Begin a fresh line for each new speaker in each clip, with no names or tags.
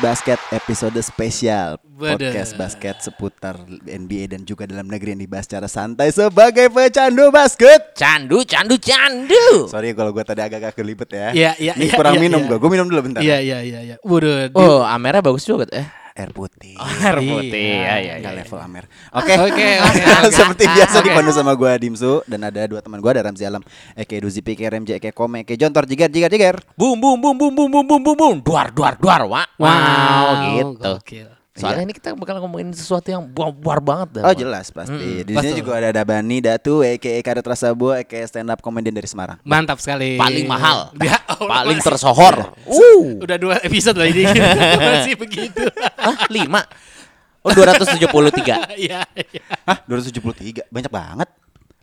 Basket episode spesial
Bener.
Podcast basket seputar NBA dan juga dalam negeri yang dibahas secara santai sebagai pecandu basket
Candu, candu, candu.
Sorry kalau gue tadi agak-agak kelibet ya
Iya, iya,
Ini
iya,
kurang
iya,
minum
iya.
gue, gue minum dulu bentar
Iya iya iya iya. Waduh. di-
Oh, Amera bagus juga tuh. Eh,
Air putih
Oh,
air putih. Ya, ya,
Nggak
ya.
level Amer Oke
Iya, Oke, oke, oke.
Seperti biasa dipandu sama gue Dimsu Dan ada dua teman gue ada Ramzi Alam Eke Duzi Pikir MJ Eke Kome Eke Jontor Jigar Jigar Jigar
Bum bum bum bum bum bum bum bum bum. Duar duar duar. Wah. gitu.
gokil.
Soalnya ini kita bakal ngomongin sesuatu yang buar-buar banget
Oh
dah.
jelas pasti. Di sini
betul.
juga ada Dabani Datu, Eke Karya Trasabu, Eke stand up komedian dari Semarang.
Mantap sekali.
Paling mahal.
Ya, Allah,
Paling
masih-
tersohor. Uh.
Udah dua episode lah ini. Masih begitu.
Hah, 5. Oh, 273.
Iya. iya.
Hah, 273. Banyak banget.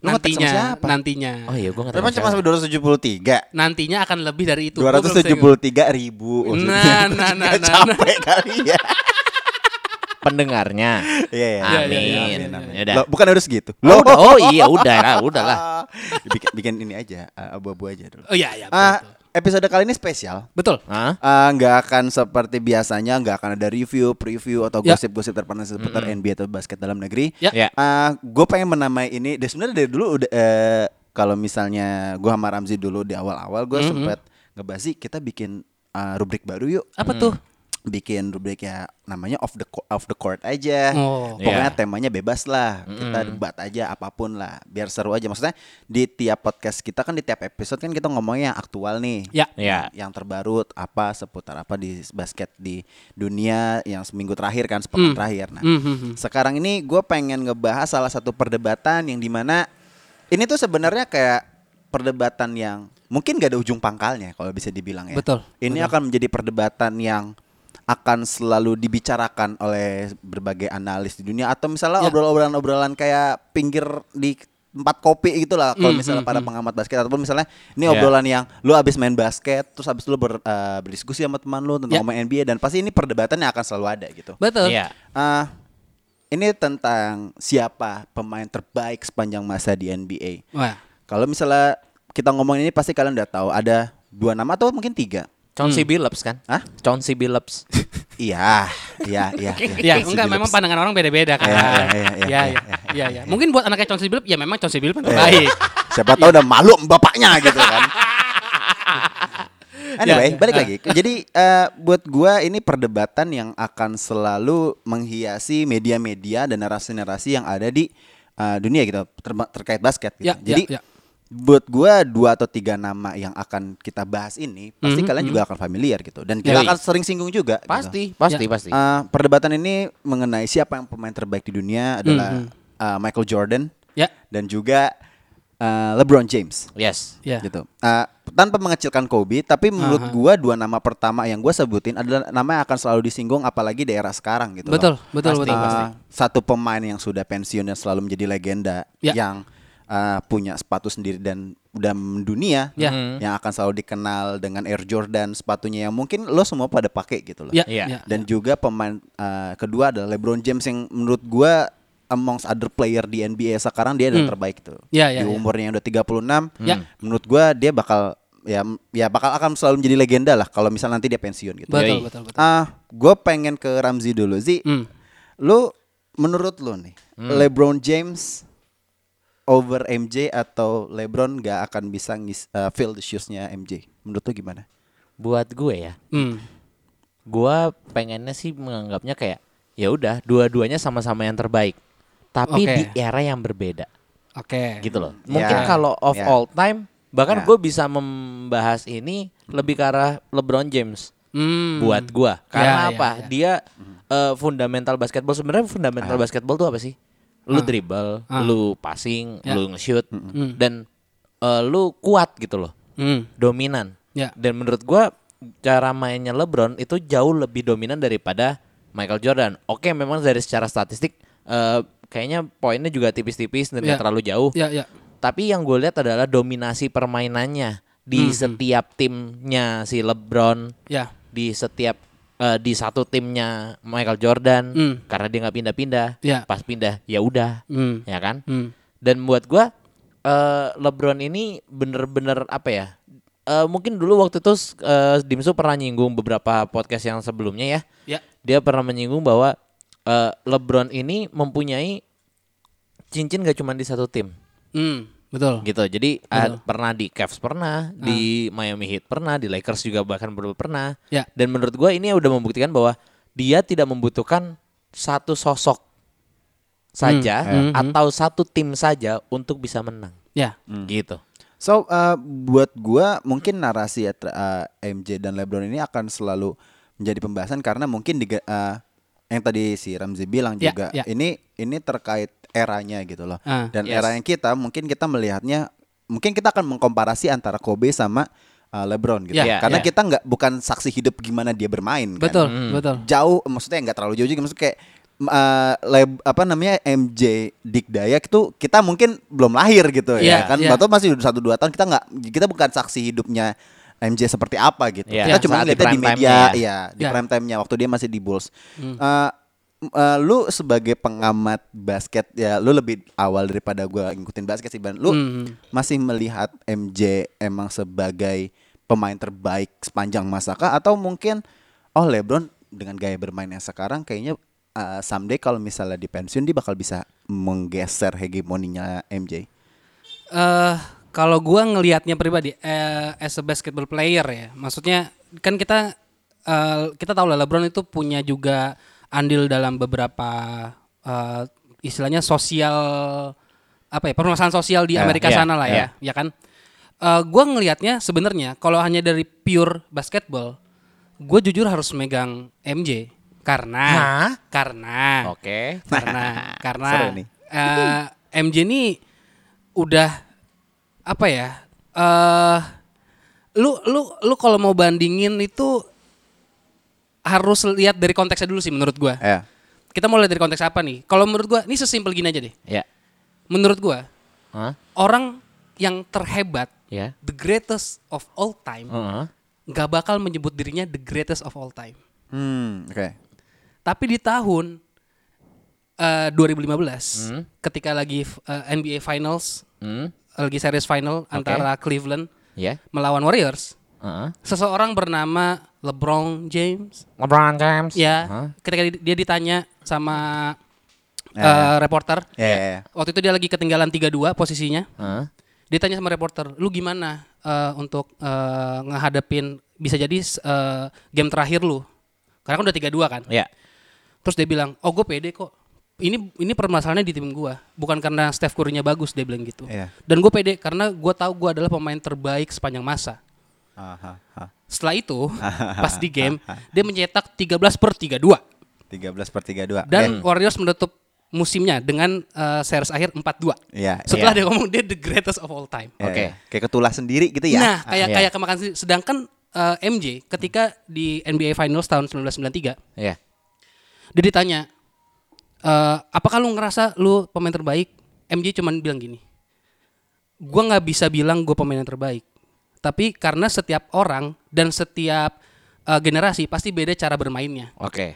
Lu ngetek sama
Nantinya
siapa?
nantinya.
Oh iya, gua enggak
Emang cuma sampai 273.
Nantinya akan lebih dari itu. Gua belum bisa ingat.
273 ribu
Nah, nah, nah, nah,
Capek kali ya
pendengarnya.
Iya iya iya, iya,
Amin. Amin.
Ya
amin.
Yaudah.
Loh, Bukan harus gitu
Oh, udah. oh iya, udah lah, udah lah.
bikin, bikin ini aja eh, Abu-abu aja dulu
Oh iya iya. betul,
Ah, Episode kali ini spesial
Betul. Betul.
Hah?
Eh, nggak akan seperti biasanya nggak akan ada review preview atau
Ya.
gosip-gosip terpanas seputar NBA atau basket dalam negeri
Ya.
Ya.
gue pengen menamai ini dan sebenarnya dari dulu udah eh, kalau misalnya gue sama Ramzi dulu di awal-awal gue sempet ngebahas sih kita bikin eh, rubrik baru yuk
Apa tuh?
Hmm. bikin rubrik ya namanya off the co- off the court aja.
Oh.
Pokoknya
Iya.
temanya bebas lah. Kita debat aja apapun lah, biar seru aja. Maksudnya di tiap podcast kita kan di tiap episode kan kita ngomongnya yang aktual nih.
Ya.
Iya.
Yang terbaru apa seputar apa di basket di dunia yang seminggu terakhir kan sepekan terakhir. Nah,
Hmm, hmm, hmm.
sekarang ini gue pengen ngebahas salah satu perdebatan yang dimana ini tuh sebenarnya kayak perdebatan yang mungkin gak ada ujung pangkalnya kalau bisa dibilang ya.
Betul,
Ini akan menjadi perdebatan yang akan selalu dibicarakan oleh berbagai analis di dunia atau misalnya
Ya.
obrolan-obrolan kayak pinggir di tempat kopi gitu lah
Hmm,
kalau misalnya para pengamat basket ataupun misalnya ini
Iya.
Ya.
obrolan yang lu abis main basket terus abis lu ber- eh, berdiskusi sama teman lu tentang
Ya.
ngomong NBA dan pasti ini perdebatan yang akan selalu ada gitu.
Betul.
Iya.
Ah, ini tentang siapa pemain terbaik sepanjang masa di NBA.
Wah.
Kalau misalnya kita ngomong ini pasti kalian udah tahu ada dua nama atau mungkin tiga.
Chauncey Billups kan?
Hah?
Chauncey Billups.
Iya, iya, iya.
Ya, enggak memang pandangan orang beda-beda kan.
Iya, iya, iya, iya,
Iya,
iya,
iya, iya, iya. Mungkin buat anaknya Chauncey Billups ya memang Chauncey Billups terbaik.
baik. Eh, Siapa tahu udah malu sama bapaknya gitu kan. Anyway,
Ya, ya.
balik
Ah.
lagi. Jadi eh, buat gua ini perdebatan yang akan selalu menghiasi media-media dan narasi-narasi yang ada di eh, dunia gitu terba- terkait basket gitu.
Ya, ya,
Jadi
ya.
buat gua dua atau tiga nama yang akan kita bahas ini pasti
Mhm,
kalian juga akan familiar gitu dan kita
Yoi.
akan sering singgung juga. gitu.
Pasti,
Ya.
pasti, pasti.
Eh, perdebatan ini mengenai siapa yang pemain terbaik di dunia adalah
Mhm.
eh, Michael Jordan
Ya.
dan juga eh, LeBron James
Yes.
Ya.
gitu. Eh, tanpa mengecilkan Kobe, tapi menurut
Aha.
gua dua nama pertama yang gua sebutin adalah nama yang akan selalu disinggung apalagi di era sekarang gitu.
Betul,
loh.
betul,
Eh,
betul, pasti.
Satu pemain yang sudah pensiun dan selalu menjadi legenda
Ya.
yang eh, punya sepatu sendiri dan udah mendunia
Ya.
yang akan selalu dikenal dengan Air Jordan sepatunya yang mungkin lo semua pada pakai gitu loh.
Ya,
Iya.
ya.
Dan juga pemain eh, kedua adalah LeBron James yang menurut gua amongst other player di NBA sekarang dia adalah terbaik tuh.
Ya,
di
ya, ya.
umurnya yang udah 36,
Ya.
menurut gua dia bakal ya ya bakal akan selalu menjadi legenda lah kalau misal nanti dia pensiun gitu.
Betul,
Yoi.
betul, betul.
Ah, gua pengen ke Ramzi dulu sih.
Hmm.
Lu menurut lu nih, LeBron James over MJ atau LeBron gak akan bisa ngis, eh, fill the shoes-nya MJ? Menurut lu gimana?
Buat gue ya.
Hmm.
Gua pengennya sih menganggapnya kayak ya udah dua-duanya sama-sama yang terbaik. Tapi
Oke.
di era yang berbeda.
Oke.
gitu loh.
Ya.
Mungkin kalau of
Ya.
all time, bahkan
Ya.
gue bisa membahas ini lebih ke arah LeBron James
Hmm.
buat gue.
Ya,
Karena
ya,
apa?
ya.
Dia eh, fundamental basketball. Sebenarnya fundamental basketball tuh apa sih? Lu dribble,
Ah.
lu passing,
Ya.
lu nge-shoot, dan eh, lu kuat gitu loh,
Hmm.
dominan.
Ya.
Dan menurut gue cara mainnya LeBron itu jauh lebih dominan daripada Michael Jordan. Oke, memang dari secara statistik eh, kayaknya poinnya juga tipis-tipis dan nggak
Ya.
terlalu jauh.
Ya, ya.
Tapi yang gue lihat adalah dominasi permainannya di setiap timnya si LeBron,
Ya.
di setiap eh, di satu timnya Michael Jordan
Hmm.
karena dia nggak pindah-pindah.
Ya.
Pas pindah ya udah,
Hmm.
ya kan?
Hmm.
Dan buat gue eh, LeBron ini bener-bener apa ya? eh, mungkin dulu waktu itu eh, Dimsu pernah nyinggung beberapa podcast yang sebelumnya ya.
Ya.
Dia pernah menyinggung bahwa eh, LeBron ini mempunyai cincin gak cuma di satu tim
Hmm, betul. Ah.
gitu. Jadi ah, pernah di Cavs pernah, di Miami Heat pernah, di Lakers juga bahkan ber- pernah.
Ya.
Dan menurut gua ini udah membuktikan bahwa dia tidak membutuhkan satu sosok saja
Hmm, hmm,
atau satu tim saja untuk bisa menang.
Ya.
Gitu.
So uh, buat gua mungkin narasi at- uh, MJ dan LeBron ini akan selalu menjadi pembahasan karena mungkin di eh, yang tadi si Ramzi bilang
Ya,
juga
ya.
ini ini terkait eranya gitu loh.
Ah,
dan
yes.
era yang kita mungkin kita melihatnya mungkin kita akan mengkomparasi antara Kobe sama uh, LeBron gitu.
Ya,
karena
ya.
kita nggak bukan saksi hidup gimana dia bermain kan
Betul,
Hmm.
betul.
jauh maksudnya nggak terlalu jauh juga maksudnya kayak m- eh, lab- apa namanya MJ Dik Dayak itu gitu, kita mungkin belum lahir gitu ya
Iya,
kan
iya.
atau masih satu dua tahun kita nggak kita bukan saksi hidupnya MJ seperti apa gitu
Iya,
kita
saat
cuma
di
lihatnya di
prime
media
time-nya Hmm. ya.
ya di
Iya.
prime time-nya waktu dia masih di Bulls Eh, m- eh, lu sebagai pengamat basket ya lu lebih awal daripada gua ngikutin basket sih ban lu
Hmm.
masih melihat MJ emang sebagai pemain terbaik sepanjang masa kah atau mungkin oh LeBron dengan gaya bermainnya sekarang kayaknya uh, someday kalau misalnya di pensiun dia bakal bisa menggeser hegemoninya MJ.
Eh kalau gua ngelihatnya pribadi eh, as a basketball player ya, maksudnya kan kita eh, kita tahu lah LeBron itu punya juga andil dalam beberapa eh, istilahnya sosial apa ya permasalahan sosial di
Ya,
Amerika
ya,
sana lah ya, ya kan? Eh gua ngelihatnya sebenarnya kalau hanya dari pure basketball, gue jujur harus megang MJ karena
Hah?
karena
Oke.
karena karena
Seru nih.
eh, MJ ini udah apa ya? eh lu lu lu kalau mau bandingin itu harus lihat dari konteksnya dulu sih menurut gua.
Ya.
Kita mau lihat dari konteks apa nih? Kalau menurut gua ini sesimpel gini aja deh.
Ya.
Menurut gua
Hah?
orang yang terhebat
Iya.
Ya.
the greatest of all time
Hmm.
Heeh.
nggak bakal menyebut dirinya the greatest of all time.
Hmm, oke.
Tapi di tahun eh, 2015
Hmm.
ketika lagi eh, NBA Finals,
Hmm.
lagi series final antara Cleveland
Ya.
melawan Warriors,
Heeh.
seseorang bernama LeBron James
LeBron James.
ya
Heeh.
ketika di- dia ditanya sama eh,
Ya.
reporter
Ya, ya, ya.
waktu itu dia lagi ketinggalan 3-2 posisinya.
Heeh.
Ditanya sama reporter, "Lu gimana eh, untuk eh, ngehadapin bisa jadi eh, game terakhir lu?" Karena kan udah 3-2 kan.
Ya.
Terus dia bilang, oh gue pede kok. Ini ini permasalahannya di tim gue, bukan karena Steph Curry-nya bagus dia bilang gitu.
Iya.
Dan gue pede karena gue tahu gue adalah pemain terbaik sepanjang masa.
Aha, aha.
Setelah itu pas di game dia mencetak 13 per 32
13 per Ya. 32.
dan Warriors menutup musimnya dengan eh, series akhir 4-2.
Iya,
Setelah
iya.
dia ngomong dia the greatest of all time.
Ya,
Oke.
ya. Kayak ketulah sendiri gitu ya.
Nah, kayak
iya.
kayak kemakan sendiri. sedangkan eh, MJ ketika di NBA Finals tahun 1993
Ya.
Dia ditanya, "Eh, apakah lu ngerasa lu pemain terbaik? MJ cuman bilang gini, gue nggak bisa bilang gue pemain yang terbaik. Tapi karena setiap orang dan setiap eh, generasi pasti beda cara bermainnya.
Oke.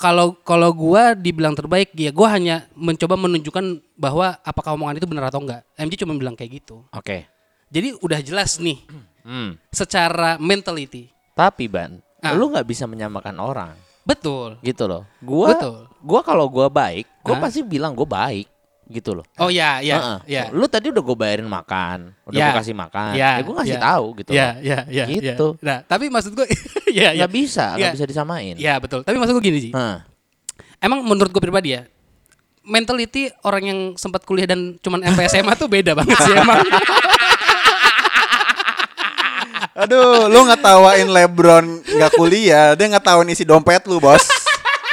Kalau kalau gue dibilang terbaik, ya gue hanya mencoba menunjukkan bahwa apakah omongan itu benar atau enggak. MJ cuma bilang kayak gitu.
Oke.
Jadi udah jelas nih
Hmm.
secara mentality.
Tapi Ban,
Ah.
lu nggak bisa menyamakan orang.
Betul.
gitu loh. Gua
Betul.
gua kalau gua baik, gua
Hah?
pasti bilang gua baik gitu loh.
Oh ya,
Heeh.
ya, ya.
Lu tadi udah gua bayarin makan, udah
Ya.
gua kasih makan.
Ya,
Ya, gua ngasih
ya.
tahu gitu.
Ya,
loh.
ya, ya. ya.
Gitu.
Nah, tapi maksud gue ya, ya.
Nggak bisa, nggak
Ya.
bisa disamain.
Ya, betul. Tapi maksud gue gini sih.
Hah.
Emang menurut gue pribadi ya, mentality orang yang sempat kuliah dan cuman MPSMA tuh beda banget sih emang.
Aduh, lu ngetawain LeBron nggak kuliah, dia ngetawain isi dompet lu, Bos.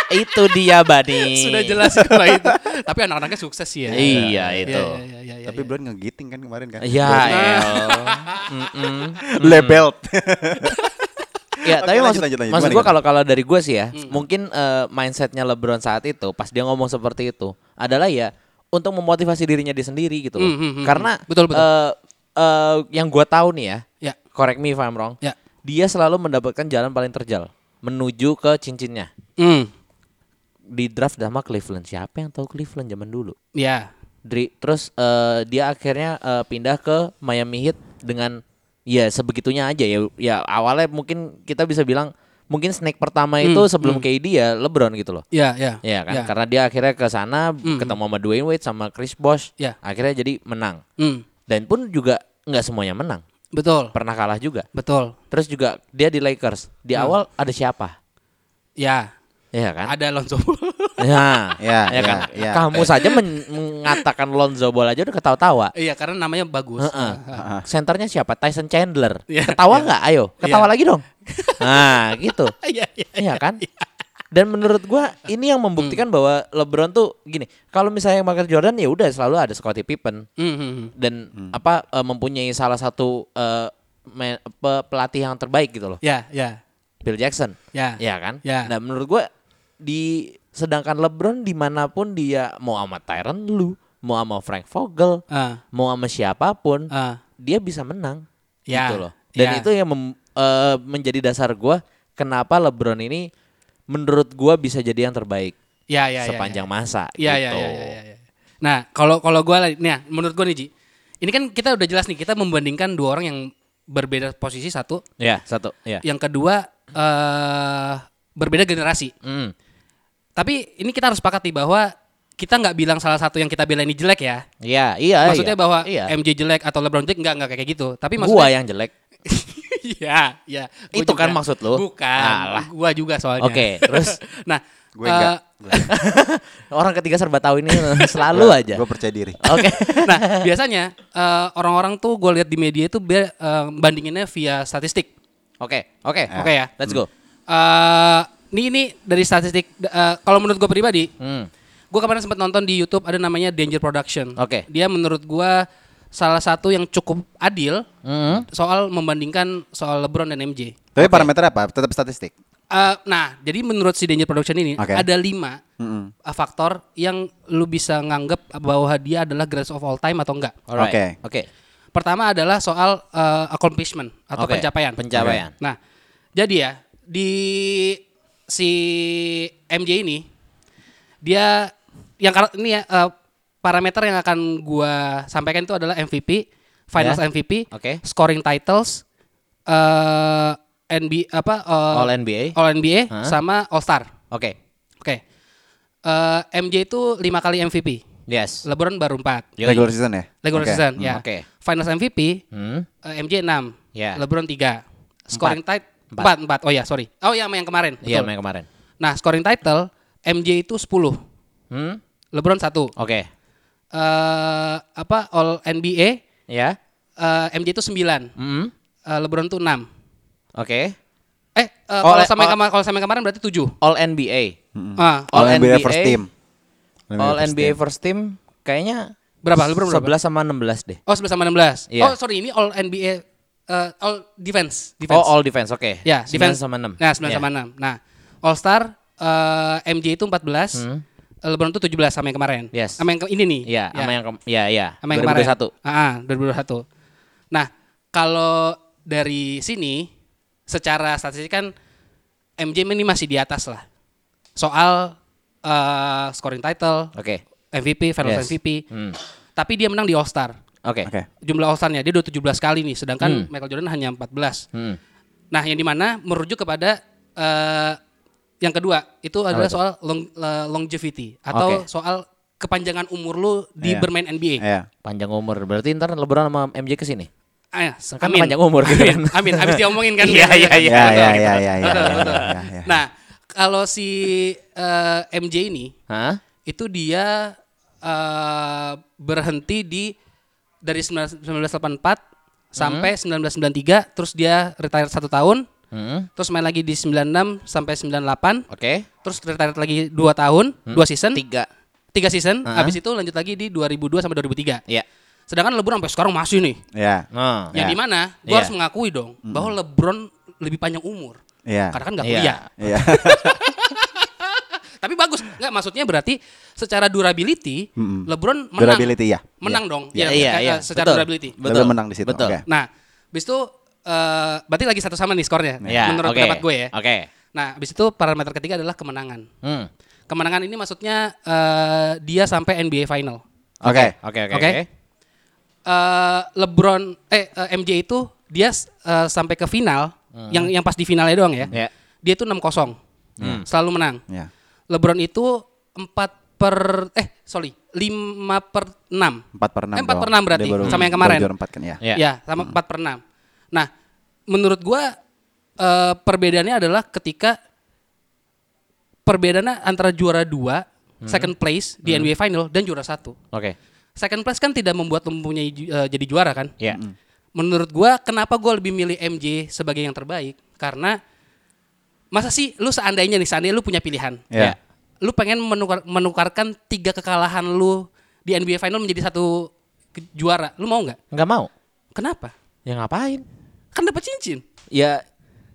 itu dia, Bani.
Sudah jelas kalau itu. Tapi anak-anaknya sukses sih ya.
Iya,
Ya,
itu.
ya, ya, ya, ya,
Tapi
ya.
LeBron ngegiting kan kemarin kan.
Ya, el.
Labeled.
ya,
Oke,
tapi
lanjut,
maksud,
lanjut, lanjut. Gimana,
maksud gua
gimana?
kalau kalau dari gua sih ya, mungkin eh, mindsetnya LeBron saat itu pas dia ngomong seperti itu adalah ya untuk memotivasi dirinya dia sendiri gitu loh.
Hmm, hmm, hmm.
Karena
Betul, betul.
eh, eh, yang gua tahu nih ya,
Ya,
correct me if I'm wrong.
ya.
Dia selalu mendapatkan jalan paling terjal menuju ke cincinnya.
Hmm.
Di draft sama Cleveland. Siapa yang tahu Cleveland zaman dulu?
Ya.
Dri- terus eh, dia akhirnya eh, pindah ke Miami Heat dengan ya sebegitunya aja ya ya awalnya mungkin kita bisa bilang mungkin snack pertama itu sebelum KD ya LeBron gitu loh
Ya, ya. Hmm,
ya kan
Ya. Hmm.
karena dia akhirnya ke sana ketemu sama Dwayne Wade sama Chris Bosh
Ya.
akhirnya jadi menang
Hmm,
dan pun juga nggak semuanya menang
betul.
pernah kalah juga
Betul.
terus juga dia di Lakers di
Hmm.
awal ada siapa
Ya,
ya kan
ada Lonzo Ball.
ya,
Ya,
ya kan
ya, ya.
kamu saja men- mengatakan Lonzo Ball aja udah ketawa-tawa
Iya, karena namanya bagus.
Heeh. Senternya siapa? Tyson Chandler.
Iya,
Ketawa nggak? Ayo, ketawa
Iya.
lagi dong. Nah, gitu.
Iya, iya.
Iya kan? Dan menurut gua ini yang membuktikan bahwa LeBron tuh gini, kalau misalnya Michael Jordan ya udah selalu ada Scottie Pippen
Hmm, hmm, hmm.
dan apa eh, mempunyai salah satu eh, me- pe- pelatih yang terbaik gitu loh,
Ya, ya.
Bill Jackson.
Ya.
Iya kan?
Ya.
Nah, menurut gua di sedangkan LeBron dimanapun dia mau sama Tyron Lue, mau sama Frank Vogel,
Ah,
mau sama siapapun,
ah.
dia bisa menang
Ya,
gitu loh.
ya.
Dan itu yang mem- eh, menjadi dasar gua kenapa LeBron ini menurut gua bisa jadi yang terbaik
Ya, ya, ya,
sepanjang masa
Iya
gitu.
iya iya iya. Ya, ya. Nah kalau kalau gue nih, menurut gue nih Ji, ini kan kita udah jelas nih kita membandingkan dua orang yang berbeda posisi satu,
Ya, satu, ya.
yang kedua eh berbeda generasi.
Mm.
Tapi ini kita harus sepakat nih bahwa kita nggak bilang salah satu yang kita bela ini jelek ya.
Iya, iya.
Maksudnya
iya.
bahwa
iya.
MJ jelek atau LeBron jelek nggak nggak kayak gitu. Tapi
gua
maksudnya
yang jelek.
Iya, iya. Gua
Itu kan
juga.
maksud lu?
Bukan.
Alah.
Gua juga soalnya.
Oke, terus?
nah,
Gue
eh,
enggak.
Orang ketiga serba tahu ini selalu aja.
Gue percaya diri.
Oke.
nah biasanya eh, orang-orang tuh gue lihat di media itu be- eh, bandinginnya via statistik
Oke, oke.
oke ya
Let's go.
Eh, ini ini dari statistik eh, kalau menurut gue pribadi
Hmm.
gue kemarin sempat nonton di YouTube ada namanya Danger Production
Oke.
dia menurut gue salah satu yang cukup adil
Mm.
soal membandingkan soal LeBron dan MJ
Tapi parameter apa? Tetap statistik.
Eh, nah jadi menurut si Danger Production ini
Oke.
ada lima
Mm-mm.
eh, faktor yang lu bisa nganggep bahwa dia adalah greatest of all time atau enggak
Alright.
Oke.
Oke.
Pertama adalah soal eh, accomplishment atau
Oke,
pencapaian.
pencapaian.
Nah, jadi ya di si MJ ini dia yang kar- ini ya eh, parameter yang akan gua sampaikan itu adalah MVP, Finals
Ya.
MVP,
Oke.
scoring titles, eh NB apa eh,
All NBA.
All NBA
Hah?
sama All Star.
Oke.
Oke. Eh, MJ itu lima kali MVP.
Yes.
LeBron baru empat.
Yoi.
Regular season ya?
Regular
Oke.
season, ya.
oke.
Finals MVP
Hmm.
Eh, MJ 6,
Ya.
LeBron 3. Scoring title 4 4. Oh ya, sorry. Oh ya, sama yang kemarin.
Iya,
Betul.
main kemarin.
Nah, scoring title MJ itu 10,
Hmm.
LeBron 1. Eh
Oke.
apa All NBA
Ya.
eh, MJ itu 9,
Hmm.
eh, LeBron itu 6.
Oke.
Eh, eh,
All-
kalau sama yang
all-
kema- kalau sama yang kemarin berarti 7.
All NBA.
Ah,
All,
All
NBA,
NBA.
first team.
All
first
NBA
team.
first team kayaknya
Berapa? Lu berapa?
11 sama 16 deh.
oh, 11 sama 16.
Iya.
Oh, sorry, ini All NBA eh, All defense, defense.
Oh, all defense. Oke.
Ya,
9
defense
sama Ya. Iya. 6.
Nah, 9 sama 6. Nah, All Star eh, MJ itu 14, LeBron itu 17 sama yang kemarin.
Hmm. Yes.
Sama yang ke- ini nih.
Iya, sama yang ke- ya ya.
sama yang kemarin.
2021.
Ah, ah, 2021. Nah, kalau dari sini secara statistik kan MJ ini masih di atas lah. Soal eh, scoring title,
Oke.
MVP, Finals
Yes.
MVP.
Hmm.
Tapi dia menang di All Star.
Oke.
Oke.
Jumlah All Star-nya dia udah 17 kali nih, sedangkan Michael Jordan hanya 14.
Hmm.
Nah, yang dimana merujuk kepada eh, yang kedua itu adalah
itu?
soal long- eh, longevity atau
Oke.
soal kepanjangan umur lu di
Iya.
bermain NBA.
Iya.
Panjang umur. Berarti ntar LeBron sama MJ ke sini.
Ah,
Kan
amin.
panjang umur gitu kan.
Amin. Habis diomongin kan.
Iya, iya, iya,
Betul,
iya,
betul.
iya, iya, iya,
Betul,
iya,
betul.
iya, iya.
Nah, kalau si eh, MJ ini
Hah?
itu dia eh, berhenti di dari 19- 1984 sampai 1993 terus dia retire satu tahun
Hmm.
terus main lagi di 96 sampai 98
Oke.
terus retire lagi 2 tahun, 2 season, 3
Hmm. Tiga.
season, habis itu lanjut lagi di 2002 sampai 2003.
Iya.
Sedangkan LeBron sampai sekarang masih nih.
Iya.
Nah.
Ya.
Yang dimana gue
Ya.
harus mengakui dong bahwa LeBron lebih panjang umur.
Iya.
Karena kan nggak
Ya.
kuliah.
Iya.
Tapi bagus. Nggak maksudnya berarti secara durability LeBron menang.
Durability ya.
Menang dong. Iya,
Iya, iya,
eh,
iya.
eh, secara
Betul. Iya.
durability.
Betul.
Betul.
menang di situ.
Betul.
Oke.
Nah, habis itu eh, berarti lagi satu sama nih skornya
Ya,
menurut
oke.
pendapat gue ya.
Oke.
Nah, habis itu parameter ketiga adalah kemenangan.
Hmm.
Kemenangan ini maksudnya eh, dia sampai NBA final.
Oke.
Oke, oke,
Oke.
oke.
eh LeBron eh eh, MJ itu dia eh, sampai ke final yang yang pas di finalnya doang Hmm. ya. Hmm.
Iya.
Dia itu 6-0. Selalu menang.
Ya.
LeBron itu 4 per eh sorry, 5 per
4
6.
per 6
Eh, 4 per 6 berarti, sama yang kemarin.
Baru juara 4 kan ya.
Iya.
Ya, sama 4 per 6. Nah, menurut gua eh, perbedaannya adalah ketika perbedaannya antara juara 2, second place di NBA final dan juara 1.
Oke.
Second place kan tidak membuat mempunyai ju- eh, jadi juara kan?
Iya.
Menurut gua kenapa gua lebih milih MJ sebagai yang terbaik? Karena masa sih lu seandainya nih, seandainya lu punya pilihan.
Ya.
Lu pengen menukar- menukarkan tiga kekalahan lu di NBA final menjadi satu ke- juara. Lu mau nggak?
Nggak mau.
Kenapa?
Ya ngapain?
Kan dapat cincin.
Ya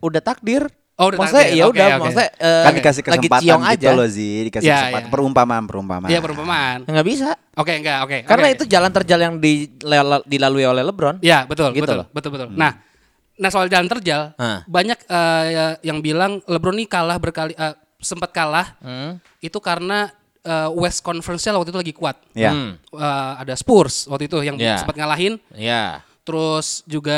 udah takdir.
Oh, udah
maksudnya
takdir.
ya
Oke,
udah
oke.
maksudnya eh,
Kan dikasih
lagi
kesempatan
ciong
gitu
aja.
loh Zi, dikasih
Ya,
kesempatan
ya.
perumpamaan, perumpamaan.
Iya perumpamaan.
Nggak bisa.
Oke, enggak, oke.
Nah. Karena
oke.
itu jalan terjal yang dilala- dilalui oleh LeBron.
Ya betul,
Gitu
betul,
loh.
betul, betul. Nah, nah soal jalan terjal,
Ah.
banyak eh, ya- yang bilang LeBron nih kalah berkali, eh, sempat kalah
Hmm.
itu karena eh, West Conference-nya waktu itu lagi kuat.
Ya.
Hmm.
Eh, ada Spurs waktu itu yang
Ya.
sempat ngalahin,
Ya.
terus juga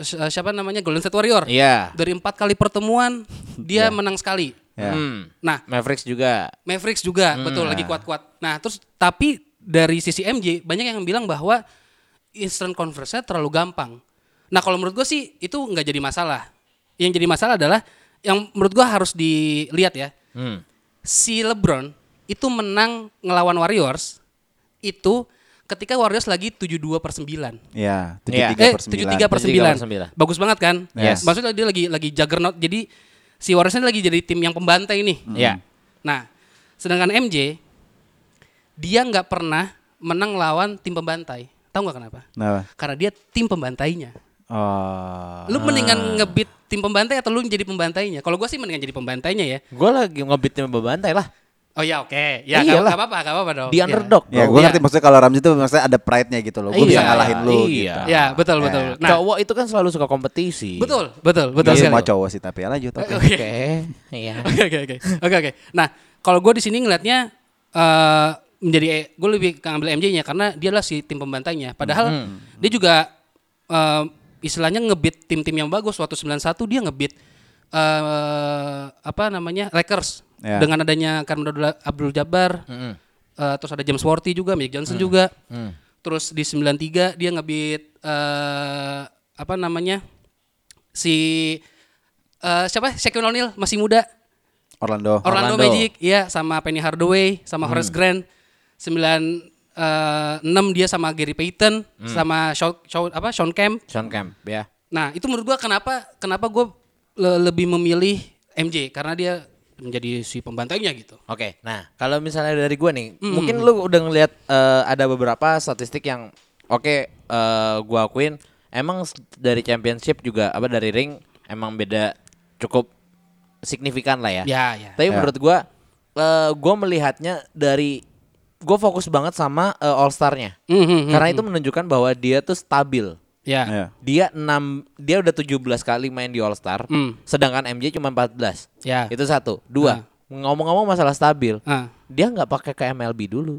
si- eh, siapa namanya Golden State Warrior.
Ya.
Dari empat kali pertemuan dia menang sekali.
Ya.
Hmm.
Nah,
Mavericks juga.
Mavericks juga betul lagi kuat-kuat. Nah, terus tapi dari sisi MJ banyak yang bilang bahwa Eastern Conference-nya terlalu gampang. Nah, kalau menurut gue sih itu nggak jadi masalah. Yang jadi masalah adalah yang menurut gue harus dilihat ya.
Hmm.
Si LeBron itu menang ngelawan Warriors itu ketika Warriors lagi 72 per 9.
Ya, 73
Iya.
Eh,
per 9.
73 per
73.
9. Bagus banget kan?
Yes.
Maksudnya dia lagi lagi juggernaut. Jadi si Warriors ini lagi jadi tim yang pembantai nih.
Ya.
Nah, sedangkan MJ dia nggak pernah menang lawan tim pembantai. Tahu nggak kenapa?
Nah.
Karena dia tim pembantainya.
Oh.
Ah.
Lu mendingan ngebit tim pembantai atau lu jadi pembantainya? Kalau gua sih mendingan jadi pembantainya ya.
Gue lagi ngebit tim bebantai lah.
Oh ya oke, ya nggak
Iyalah.
nggak apa-apa, nggak apa-apa dong.
Di
Ya.
underdog.
Ya,
bro.
gue ngerti maksudnya kalau Ramzi itu maksudnya ada pride-nya gitu loh. Gue bisa
Oh, Iya,
ngalahin lu
iya.
gitu.
Ya, betul betul. Nah,
cowok itu kan selalu suka kompetisi.
betul betul betul
Nggak
sekali.
semua cowok sih tapi ya lanjut. oke.
Oke.
Oke. Iya.
Oke oke oke oke oke. Nah kalau gue di sini ngelihatnya eh menjadi gue lebih ke ngambil MJ-nya karena dia lah si tim pembantainya. Padahal dia juga eh, istilahnya ngebit tim-tim yang bagus. Waktu 91 dia ngebit eh apa namanya Lakers
Ya.
dengan adanya Karim Abdul Jabbar, eh, terus ada James Worthy juga, Magic Johnson juga. Terus di 93 dia ngebit eh apa namanya si eh siapa Shaquille O'Neal masih muda
Orlando.
Orlando,
Orlando. Hmm.
Magic ya sama Penny Hardaway sama Horace Grant 9 eh, 6 dia sama Gary Payton
Hmm.
sama Shawn, Shawn- apa Sean Kemp
Sean Camp ya.
nah itu menurut gua kenapa kenapa gua le- lebih memilih MJ karena dia menjadi si pembantainya gitu
Oke. Nah, kalau misalnya dari gue nih, mungkin lu udah ngelihat eh, ada beberapa statistik yang oke eh, gua akuin emang s- dari championship juga apa dari ring emang beda cukup signifikan lah ya.
ya ya
Tapi
Ya.
menurut gua eh, gua melihatnya dari gue fokus banget sama eh, All Star-nya.
Mhm,
Karena itu menunjukkan bahwa dia tuh stabil.
ya
Ya.
Dia 6 dia udah 17 kali main di All Star,
Hmm.
sedangkan MJ cuma 14.
Ya.
Itu satu. Dua. Ngomong-ngomong masalah stabil,
Ah.
dia nggak pakai ke MLB dulu.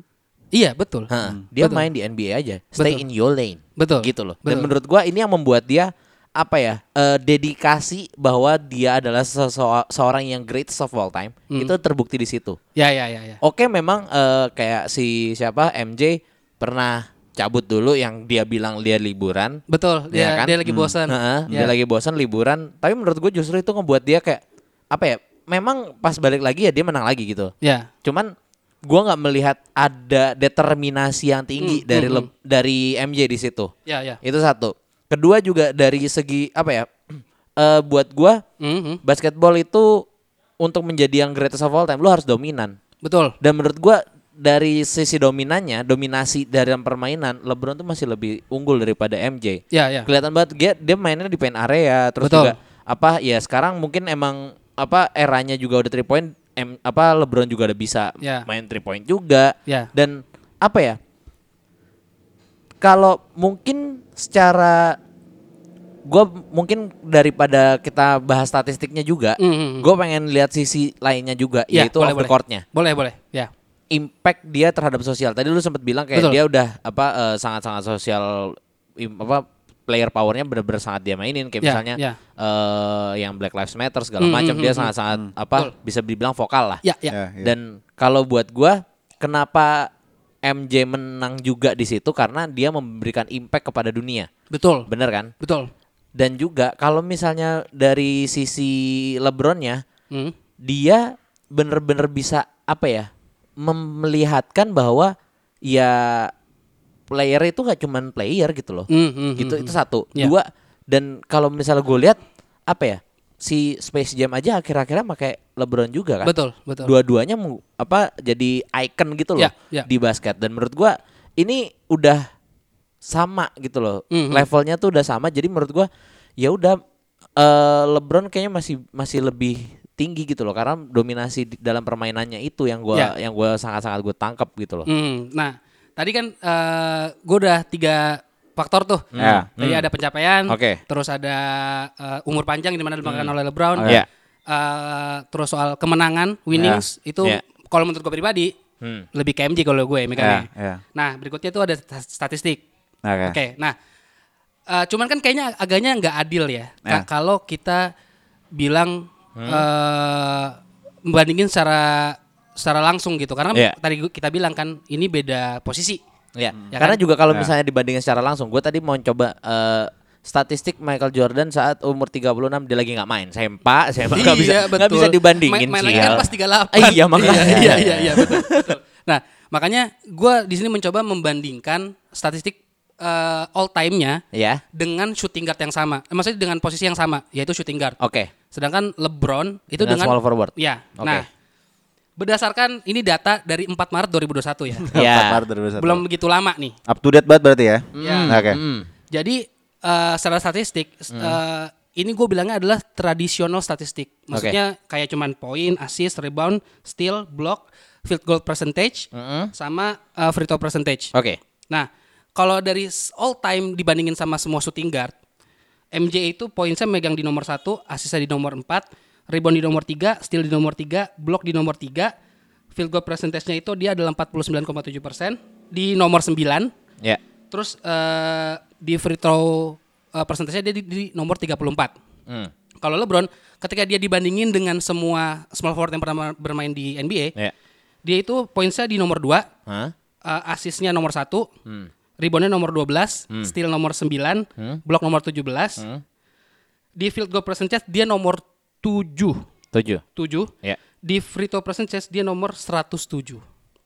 iya betul
Hah, Dia
Betul.
main di NBA aja. Stay
Betul.
in your lane.
Betul.
Gitu loh. Dan
Betul.
menurut gua ini yang membuat dia apa ya? eh, dedikasi bahwa dia adalah sese- seorang yang greatest of all time.
Hmm.
Itu terbukti di situ.
ya ya ya ya
Oke memang eh, kayak si siapa MJ pernah cabut dulu yang dia bilang dia liburan.
betul dia
Iya kan?
dia lagi bosan
Heeh,
Ya.
Dia lagi bosan liburan. Tapi menurut gue justru itu ngebuat dia kayak apa ya? Memang pas balik lagi ya dia menang lagi gitu.
ya
Cuman gua nggak melihat ada determinasi yang tinggi
Hmm,
dari
hmm,
Leb- dari MJ di situ.
ya ya
Itu satu. Kedua juga dari segi apa ya? eh, buat gua
Mhm,
basketball itu untuk menjadi yang greatest of all time lu harus dominan.
betul
Dan menurut gua dari sisi dominannya, dominasi dalam permainan, LeBron tuh masih lebih unggul daripada MJ.
ya ya
Kelihatan banget dia dia mainnya di paint area terus
Betul.
juga apa ya sekarang mungkin emang apa eranya juga udah three point em, apa LeBron juga udah bisa
Ya.
main three point juga.
Ya.
Dan apa ya? Kalau mungkin secara gua mungkin daripada kita bahas statistiknya juga,
Mhm.
gue pengen lihat sisi lainnya juga
Ya,
yaitu off the court-nya
boleh boleh ya
impact dia terhadap sosial. Tadi lu sempat bilang kayak
Betul.
dia udah apa eh, sangat-sangat sosial im- apa player powernya benar-benar sangat dia mainin kayak
Ya,
misalnya
ya.
eh, yang Black Lives Matter segala
Hmm,
macam
hmm,
dia
hmm,
sangat-sangat apa bisa dibilang vokal lah.
Ya,
Ya,
ya.
ya.
Dan kalau buat gua kenapa MJ menang juga di situ karena dia memberikan impact kepada dunia.
Betul.
Bener kan?
Betul.
Dan juga kalau misalnya dari sisi LeBronnya
Hmm.
dia bener-bener bisa apa ya memelihatkan bahwa ya player itu gak cuman player gitu loh
Hmm, hmm,
gitu
hmm,
itu
hmm.
satu
Ya.
dua dan kalau misalnya gue lihat apa ya si Space Jam aja akhir-akhirnya pakai LeBron juga kan
Betul, betul.
dua-duanya mu- apa jadi icon gitu
Ya,
loh
ya.
di basket dan menurut gua ini udah sama gitu loh
Mhm.
levelnya tuh udah sama jadi menurut gua ya udah eh, LeBron kayaknya masih masih lebih tinggi gitu loh karena dominasi di dalam permainannya itu yang
Ya.
gua yang gua sangat-sangat gue tangkap gitu loh
Hmm, nah, tadi kan gue udah tiga faktor tuh. Nah,
Ya.
Tadi ada pencapaian,
Hmm. Oke.
terus ada eh, umur panjang di mana dimakan oleh LeBron,
Oke. Ya.
Eh, terus soal kemenangan, winnings itu
Ya.
kalau menurut gue pribadi
Hmm.
lebih ke MJ kalau gue
Ya,
mikirnya.
ya.
Nah, berikutnya itu ada sta- statistik.
Oke.
Iya.
Oke, nah, eh, cuman kan kayaknya agaknya nggak adil ya,
Ya.
Ka-
Iya.
kalau kita bilang
Hmm?
eh, membandingin secara secara langsung gitu, karena
Ya.
tadi gua- kita bilang kan ini beda posisi.
Ya,
Ya
karena
kan?
juga kalau
Ya.
misalnya dibandingin secara langsung, gue tadi mau coba eh, statistik Michael Jordan saat umur 36 dia lagi nggak main. Sempa, sempa nggak bisa
Iya,
nggak bisa
betul.
dibandingin.
Main, main lagi
sial.
kan pas 38.
Ah, Iya makanya.
Iya, iya, iya, iya, betul, betul. Nah, makanya gue di sini mencoba membandingkan statistik eh, all time-nya
Ya,
dengan shooting guard yang sama. Eh, Maksudnya dengan posisi yang sama, yaitu shooting guard.
oke.
Sedangkan LeBron itu
Dengan
dengan,
small forward.
Ya.
Oke.
Nah, berdasarkan ini data dari 4 Maret 2021 ya.
Ya.
Empat part dari satu.
Belum begitu lama nih.
up to date banget berarti ya.
Iya.
Oke.
Hmm.
Jadi eh, secara statistik s- eh, ini gue bilangnya adalah tradisional statistik. Maksudnya kayak cuman poin, assist, rebound, steal, block, field goal percentage sama eh, free throw percentage.
Hmm. Oke.
Nah, kalau dari s- all time dibandingin sama semua shooting guard, MJ itu poinnya megang di nomor satu, asisnya di nomor 4, rebound di nomor 3, steal di nomor 3, block di nomor 3, field goal percentage-nya itu dia adalah 49,7%, di nomor 9,
Ya.
terus eh, di free throw eh, persentasenya dia di, di nomor 34.
Hmm.
Kalau LeBron ketika dia dibandingin dengan semua small forward yang pernah bermain di NBA,
Ya.
dia itu poinnya di nomor 2,
Hah?
uh, asisnya nomor 1,
Hmm.
reboundnya nomor 12, steal nomor 9, block nomor 17.
Hmm.
Di field goal percentage dia nomor 7.
7.
7.
Ya.
Di free throw percentage dia nomor 107.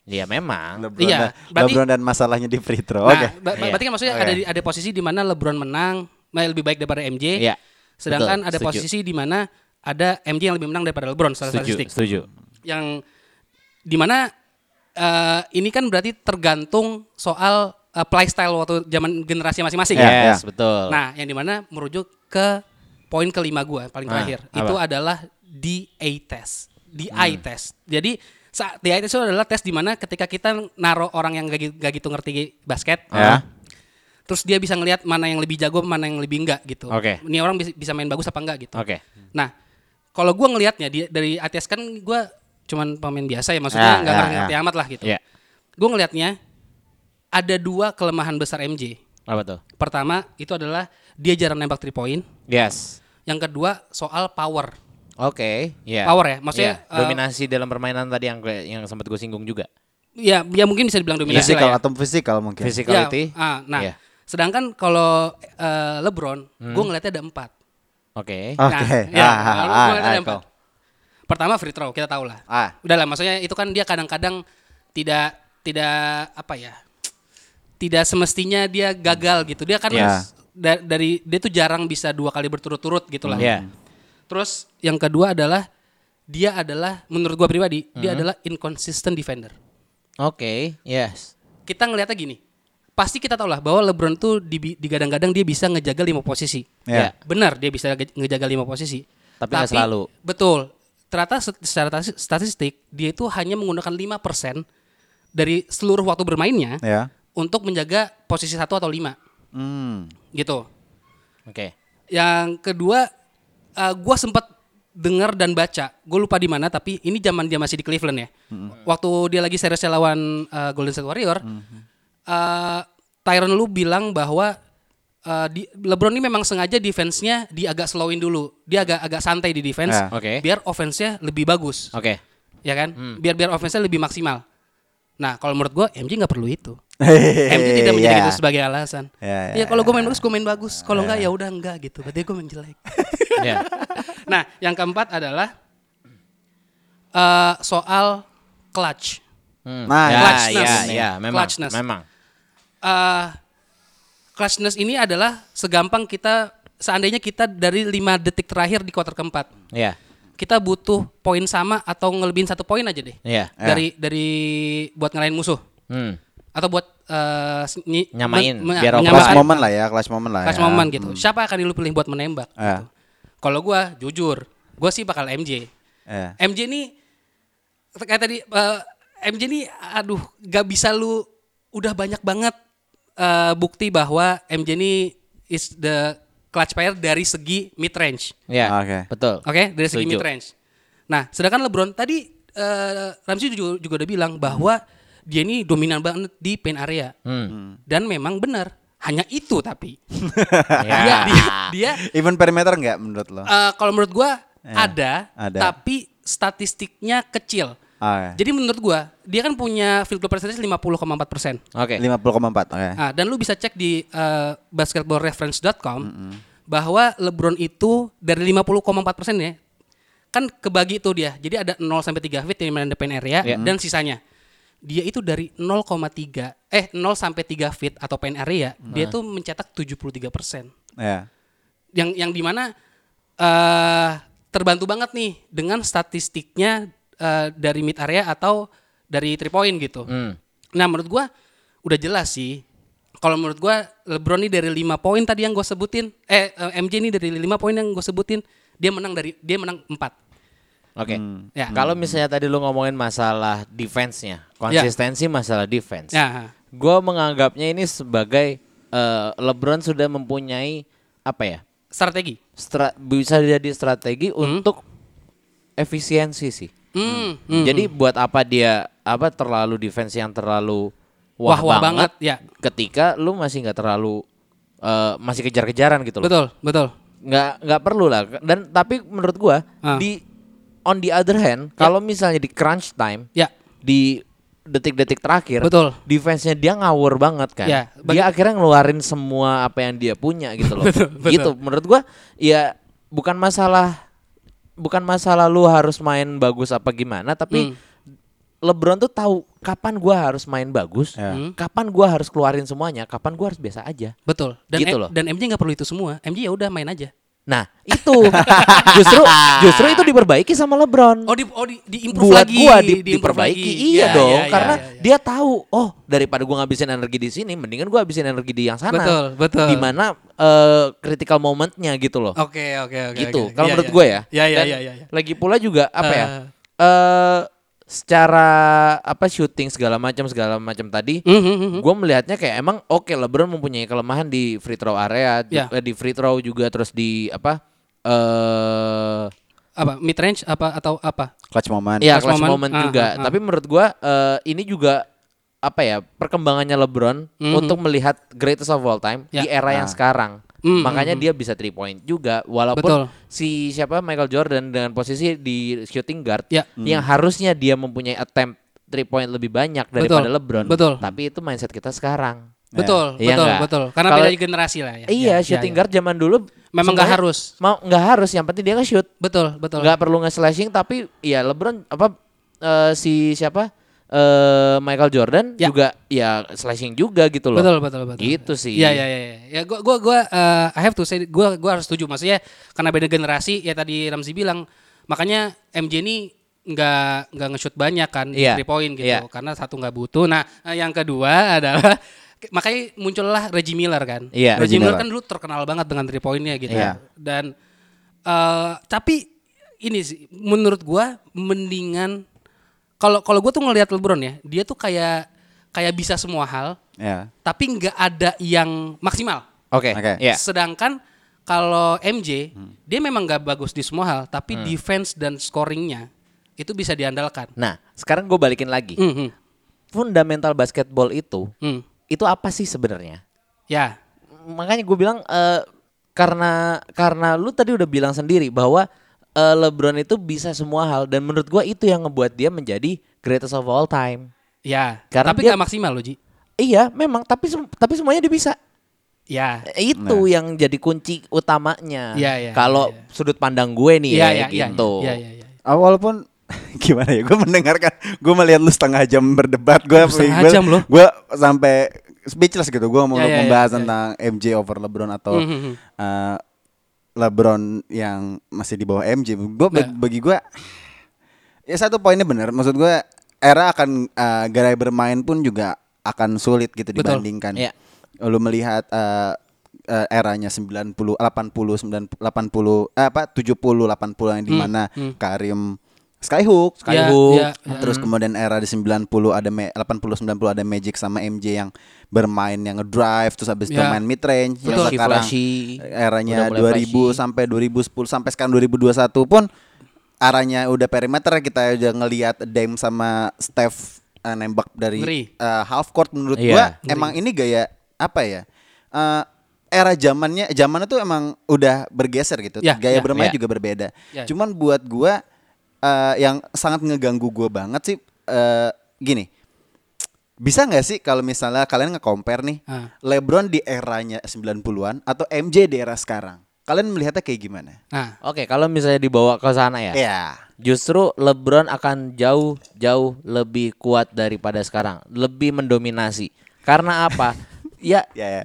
Ya memang.
LeBron, dan,
Iya, berarti-
LeBron dan masalahnya di free throw.
Nah,
Oke.
ba- ba-
Iya.
berarti kan maksudnya
Oke.
ada di- ada posisi di mana LeBron menang, eh, lebih baik daripada MJ.
Iya.
Sedangkan
Betul,
ada
setuju.
posisi di mana ada MJ yang lebih menang daripada LeBron secara
Setuju,
statistik.
setuju.
yang dimana eh, ini kan berarti tergantung soal eh, playstyle waktu zaman generasi masing-masing.
Iya,
Yes,
iya.
betul.
Nah, yang dimana merujuk ke poin kelima gua paling
Ah,
terakhir
apa? Hmm.
itu adalah DA test, DI test. Jadi saat DI test itu adalah tes dimana ketika kita naruh orang yang gak, gi- gak gitu ngerti basket,
Ya.
terus dia bisa ngelihat mana yang lebih jago, mana yang lebih enggak gitu.
Oke.
Ini orang bis- bisa main bagus apa enggak gitu.
Oke.
Nah, kalau gua ngelihatnya di- dari ATS kan gua cuman pemain biasa ya,
Ya,
maksudnya nggak
ya,
ngerti amat lah gitu.
Ya.
Gue ngelihatnya ada dua kelemahan besar MJ.
Apa tuh?
Pertama itu adalah dia jarang nembak 3 point.
Yes.
Yang kedua soal power.
Oke, ya.
Power ya, maksudnya,
Ya,
eh,
dominasi dalam permainan tadi yang gue- yang sempat gue singgung juga.
Ya, ya mungkin bisa dibilang dominasi
Physical
lah ya.
atau physical mungkin.
Physicality.
Ya, ah, nah,
Ya.
sedangkan kalau eh, LeBron, gue ngelihatnya ada empat.
Oke.
Oke.
Nah, ya,
Ah,
kalau
ah,
gua lihat
ah,
ada
itu.
empat. Pertama free throw kita tahu lah.
Ah.
Udah lah, maksudnya itu kan dia kadang-kadang tidak tidak apa ya? Tidak semestinya dia gagal gitu. Dia kan
Ya.
s- da- dari dia tuh jarang bisa dua kali berturut-turut gitu lah.
Ya.
Terus yang kedua adalah dia adalah menurut gua pribadi dia
Hmm.
adalah inconsistent defender.
Oke, yes.
Kita ngelihatnya gini. Pasti kita tahu lah bahwa LeBron tuh di digadang-gadang dia bisa ngejaga lima posisi.
Ya.
Benar, dia bisa ge- ngejaga lima posisi.
Tapi nggak selalu.
Betul. Ternyata se- secara tas- statistik dia itu hanya menggunakan 5% dari seluruh waktu bermainnya
Iya.
Ya.
untuk menjaga posisi satu atau lima
Hmm.
gitu.
Oke.
Yang kedua, eh, gua gue sempat dengar dan baca, gue lupa di mana, tapi ini zaman dia masih di Cleveland ya. Waktu dia lagi seriesnya lawan eh, Golden State Warrior, eh Tyronn Lue bilang bahwa eh, eh, di, LeBron ini memang sengaja defense-nya dia agak slowin dulu. Dia agak agak santai di defense.
Ya.
Oke.
Biar offense-nya lebih bagus.
Oke. Hmm.
Ya kan? Biar biar offense-nya lebih maksimal. Nah, kalau menurut gua MJ nggak perlu itu. MJ
Iya.
tidak menjadi
Iya.
itu sebagai alasan.
Ya,
Ya, kalau gue main bagus, gue main bagus.
Iya.
Kalau enggak ya udah enggak gitu. Berarti gue main jelek.
Ya.
nah, yang keempat adalah eh, soal clutch.
Hmm.
Nah,
ya,
clutchness.
ya, ya, memang.
Clutchness.
Memang.
eh clutchness ini adalah segampang kita seandainya kita dari lima detik terakhir di kuarter keempat
Ya.
kita butuh poin sama atau ngelebihin satu poin aja deh
Ya.
dari dari buat ngelain musuh
Hmm.
atau buat eh, s- nyi-
Nyamain,
men- men-
biar
menyamakan
Kelas momen lah ya, kelas momen lah.
clutch
ya.
moment kan? gitu siapa akan lu pilih buat menembak gitu?
Eh,
kalau gua jujur gua sih bakal MJ
eh.
MJ ini kayak tadi eh, MJ ini aduh gak bisa lu udah banyak banget eh, bukti bahwa MJ ini is the clutch player dari segi mid range.
Ya.
Oke.
Betul.
Oke, dari segi ya?
Setuju.
mid range. Nah, sedangkan LeBron tadi eh, Ramsey juga, juga udah bilang bahwa dia ini dominan banget di paint area.
Hmm.
Dan memang benar, hanya itu tapi dia
Ya.
dia, dia
Even perimeter nggak menurut lo?
eh, kalau menurut gua ada,
ada. Ya.
tapi statistiknya kecil.
Oke.
Jadi menurut gua, dia kan punya field goal percentage 50,4 persen.
Oke.
50,4. Oke.
Ah, dan lu bisa cek di eh, basketballreference.com bahwa LeBron itu dari 50,4 persen ya, kan kebagi itu dia. Jadi ada 0 sampai 3 feet yang main depan area dan sisanya. Dia itu dari 0,3 eh 0 sampai 3 feet atau pen area, dia tuh mencetak 73 persen
Ya.
yang yang dimana eh terbantu banget nih dengan statistiknya eh, dari mid area atau dari three point gitu.
Hmm.
Nah menurut gua udah jelas sih. Kalau menurut gua LeBron ini dari 5 poin tadi yang gue sebutin, eh eh, MJ ini dari 5 poin yang gue sebutin, dia menang dari dia menang 4.
Oke.
Ya.
Kalau misalnya tadi lu ngomongin masalah defense-nya, konsistensi masalah defense.
Ya.
Gue menganggapnya ini sebagai eh, LeBron sudah mempunyai apa ya?
Strategi.
stra- bisa jadi strategi untuk efisiensi sih.
Hmm.
Jadi buat apa dia apa terlalu defense yang terlalu wah,
Wah-wah
banget,
banget, ya.
ketika lu masih nggak terlalu eh, masih kejar-kejaran gitu loh.
Betul, betul.
Nggak nggak perlu lah. Dan tapi menurut gua
Ah.
di on the other hand kalau misalnya di crunch time
Ya.
di detik-detik terakhir
Betul.
defense-nya dia ngawur banget kan.
Ya, bagi-
dia akhirnya ngeluarin semua apa yang dia punya gitu loh.
Betul, betul.
Gitu menurut gua ya bukan masalah bukan masalah lu harus main bagus apa gimana
Hmm.
tapi LeBron tuh tahu kapan gua harus main bagus,
Ya.
kapan gua harus keluarin semuanya, kapan gua harus biasa aja.
Betul. Dan
Gitu
M-
loh.
dan MJ nggak perlu itu semua. MJ ya udah main aja.
Nah, itu. justru justru itu diperbaiki sama LeBron.
Oh di oh di, di improve
buat
lagi.
gua di-
di improve
diperbaiki
lagi.
iya
Ya,
dong
ya, ya,
karena
ya, ya.
dia tahu oh daripada gua ngabisin energi di sini mendingan gua habisin energi di yang sana
Betul, betul.
di mana eh, critical momentnya gitu loh
Oke oke oke.
gitu
oke.
kalau
Iya,
menurut
iya.
gue ya
Iya iya
Dan
iya iya.
lagi pula juga apa ya
Eh.
eh secara apa shooting segala macam segala macam tadi
Mhm, mhm.
gue melihatnya kayak emang oke LeBron mempunyai kelemahan di free throw area di,
Ya.
eh, di free throw juga terus di apa eh
Apa mid range apa atau apa?
Clutch moment.
Iya,
Clutch
clutch
moment.
moment
Ah,
juga.
ah, ah.
Tapi menurut gua eh, ini juga apa ya perkembangannya LeBron untuk melihat greatest of all time
Hmm. Ya.
di era yang sekarang.
Mm,
Makanya dia bisa three point juga
Betul.
walaupun si siapa Michael Jordan dengan posisi di shooting guard
Ya.
yang harusnya dia mempunyai attempt three point lebih banyak daripada
Betul.
LeBron.
Betul.
Tapi itu mindset kita sekarang.
Betul,
Iya
betul,
nggak?
betul. Karena
Kalau-
beda generasi lah ya.
iya,
Ya,
shooting
ya, ya.
guard zaman dulu
Memang nggak
semuanya
harus.
Mau nggak harus, yang penting dia nge-shoot
Betul, betul.
nggak perlu nge-slashing tapi ya LeBron apa eh, si siapa eh Michael Jordan
Ya.
juga ya slashing juga gitu loh.
Betul, betul, betul.
Gitu sih.
Iya, iya, iya. Ya. Ya gua gua gua eh, I have to say gua gua harus setuju maksudnya karena beda generasi ya tadi Ramzi bilang makanya MJ ini nggak nggak nge-shoot banyak kan di
Iya,
three point gitu
iya.
karena satu nggak butuh. Nah, eh, yang kedua adalah makanya muncullah Reggie Miller kan.
Iya,
Reggie
Reggie
Miller
Miller.
kan dulu terkenal banget dengan three point-nya gitu.
Iya.
Dan eh tapi ini sih menurut gua mendingan kalau kalau gua tuh ngelihat LeBron ya, dia tuh kayak kayak bisa semua hal,
Ya.
tapi nggak ada yang maksimal.
Oke.
Oke.
Ya.
Sedangkan kalau MJ
Hmm.
dia memang nggak bagus di semua hal, tapi defense dan scoringnya itu bisa diandalkan.
Nah, sekarang gue balikin lagi.
Mhm.
Fundamental basketball itu
Hmm.
itu apa sih sebenarnya?
Ya,
makanya gue bilang eh, karena karena lu tadi udah bilang sendiri bahwa eh, LeBron itu bisa semua hal dan menurut gue itu yang ngebuat dia menjadi greatest of all time.
Ya,
Karena
tapi
dia-
nggak maksimal loh, Ji.
Iya, memang tapi sem- tapi semuanya dia bisa.
Ya.
Eh, Itu yang jadi kunci utamanya.
Iya, iya,
Kalau
iya.
sudut pandang gue
Iya,
nih ya,
iya, iya.
gitu.
Iya, iya, iya.
Ah, walaupun gimana ya, gue mendengarkan, gue melihat lu setengah jam berdebat, gue
Setengah jam loh.
gue sampai speechless gitu, gue mau
Ya, ya,
membahas
ya, ya.
tentang MJ over LeBron atau
Mhm, mhm.
eh, LeBron yang masih di bawah MJ. Gue
Nah.
bagi gue ya satu poinnya benar, maksud gue era akan eh, gaya bermain pun juga akan sulit gitu
Betul.
dibandingkan.
Iya.
Lu melihat eh, eh, eranya 90 80 90 80 eh, apa 70 80 yang di
Hmm,
mana
hmm.
Karim Skyhook,
Iya,
Ya,
Skyhook.
ya, ya.
Terus kemudian era di 90 ada Ma- 80 90 ada Magic sama MJ yang bermain yang ngedrive terus habis itu
Ya.
main mid range.
Iya. Betul. Flashy, flashy.
eranya
Udah mulai
2000
flashy.
sampai 2010 sampai sekarang 2021 pun arahnya udah perimeter kita udah ngelihat Dame sama Steph eh, nembak dari
Ngeri.
eh, half court menurut
Iya.
gua emang ini gaya apa ya? Eh, era zamannya zamannya tuh emang udah bergeser gitu.
Ya,
gaya
ya,
bermain
ya.
juga berbeda.
Ya.
Cuman buat gua eh, yang sangat ngeganggu gua banget sih eh, gini. Bisa nggak sih kalau misalnya kalian nge-compare nih
Ah.
LeBron di eranya 90-an atau MJ di era sekarang? Kalian melihatnya kayak gimana?
Nah,
Oke, kalau misalnya dibawa ke sana
Iya.
ya.
Ya.
Justru LeBron akan jauh jauh lebih kuat daripada sekarang, lebih mendominasi. Karena apa? ya
Ya. ya.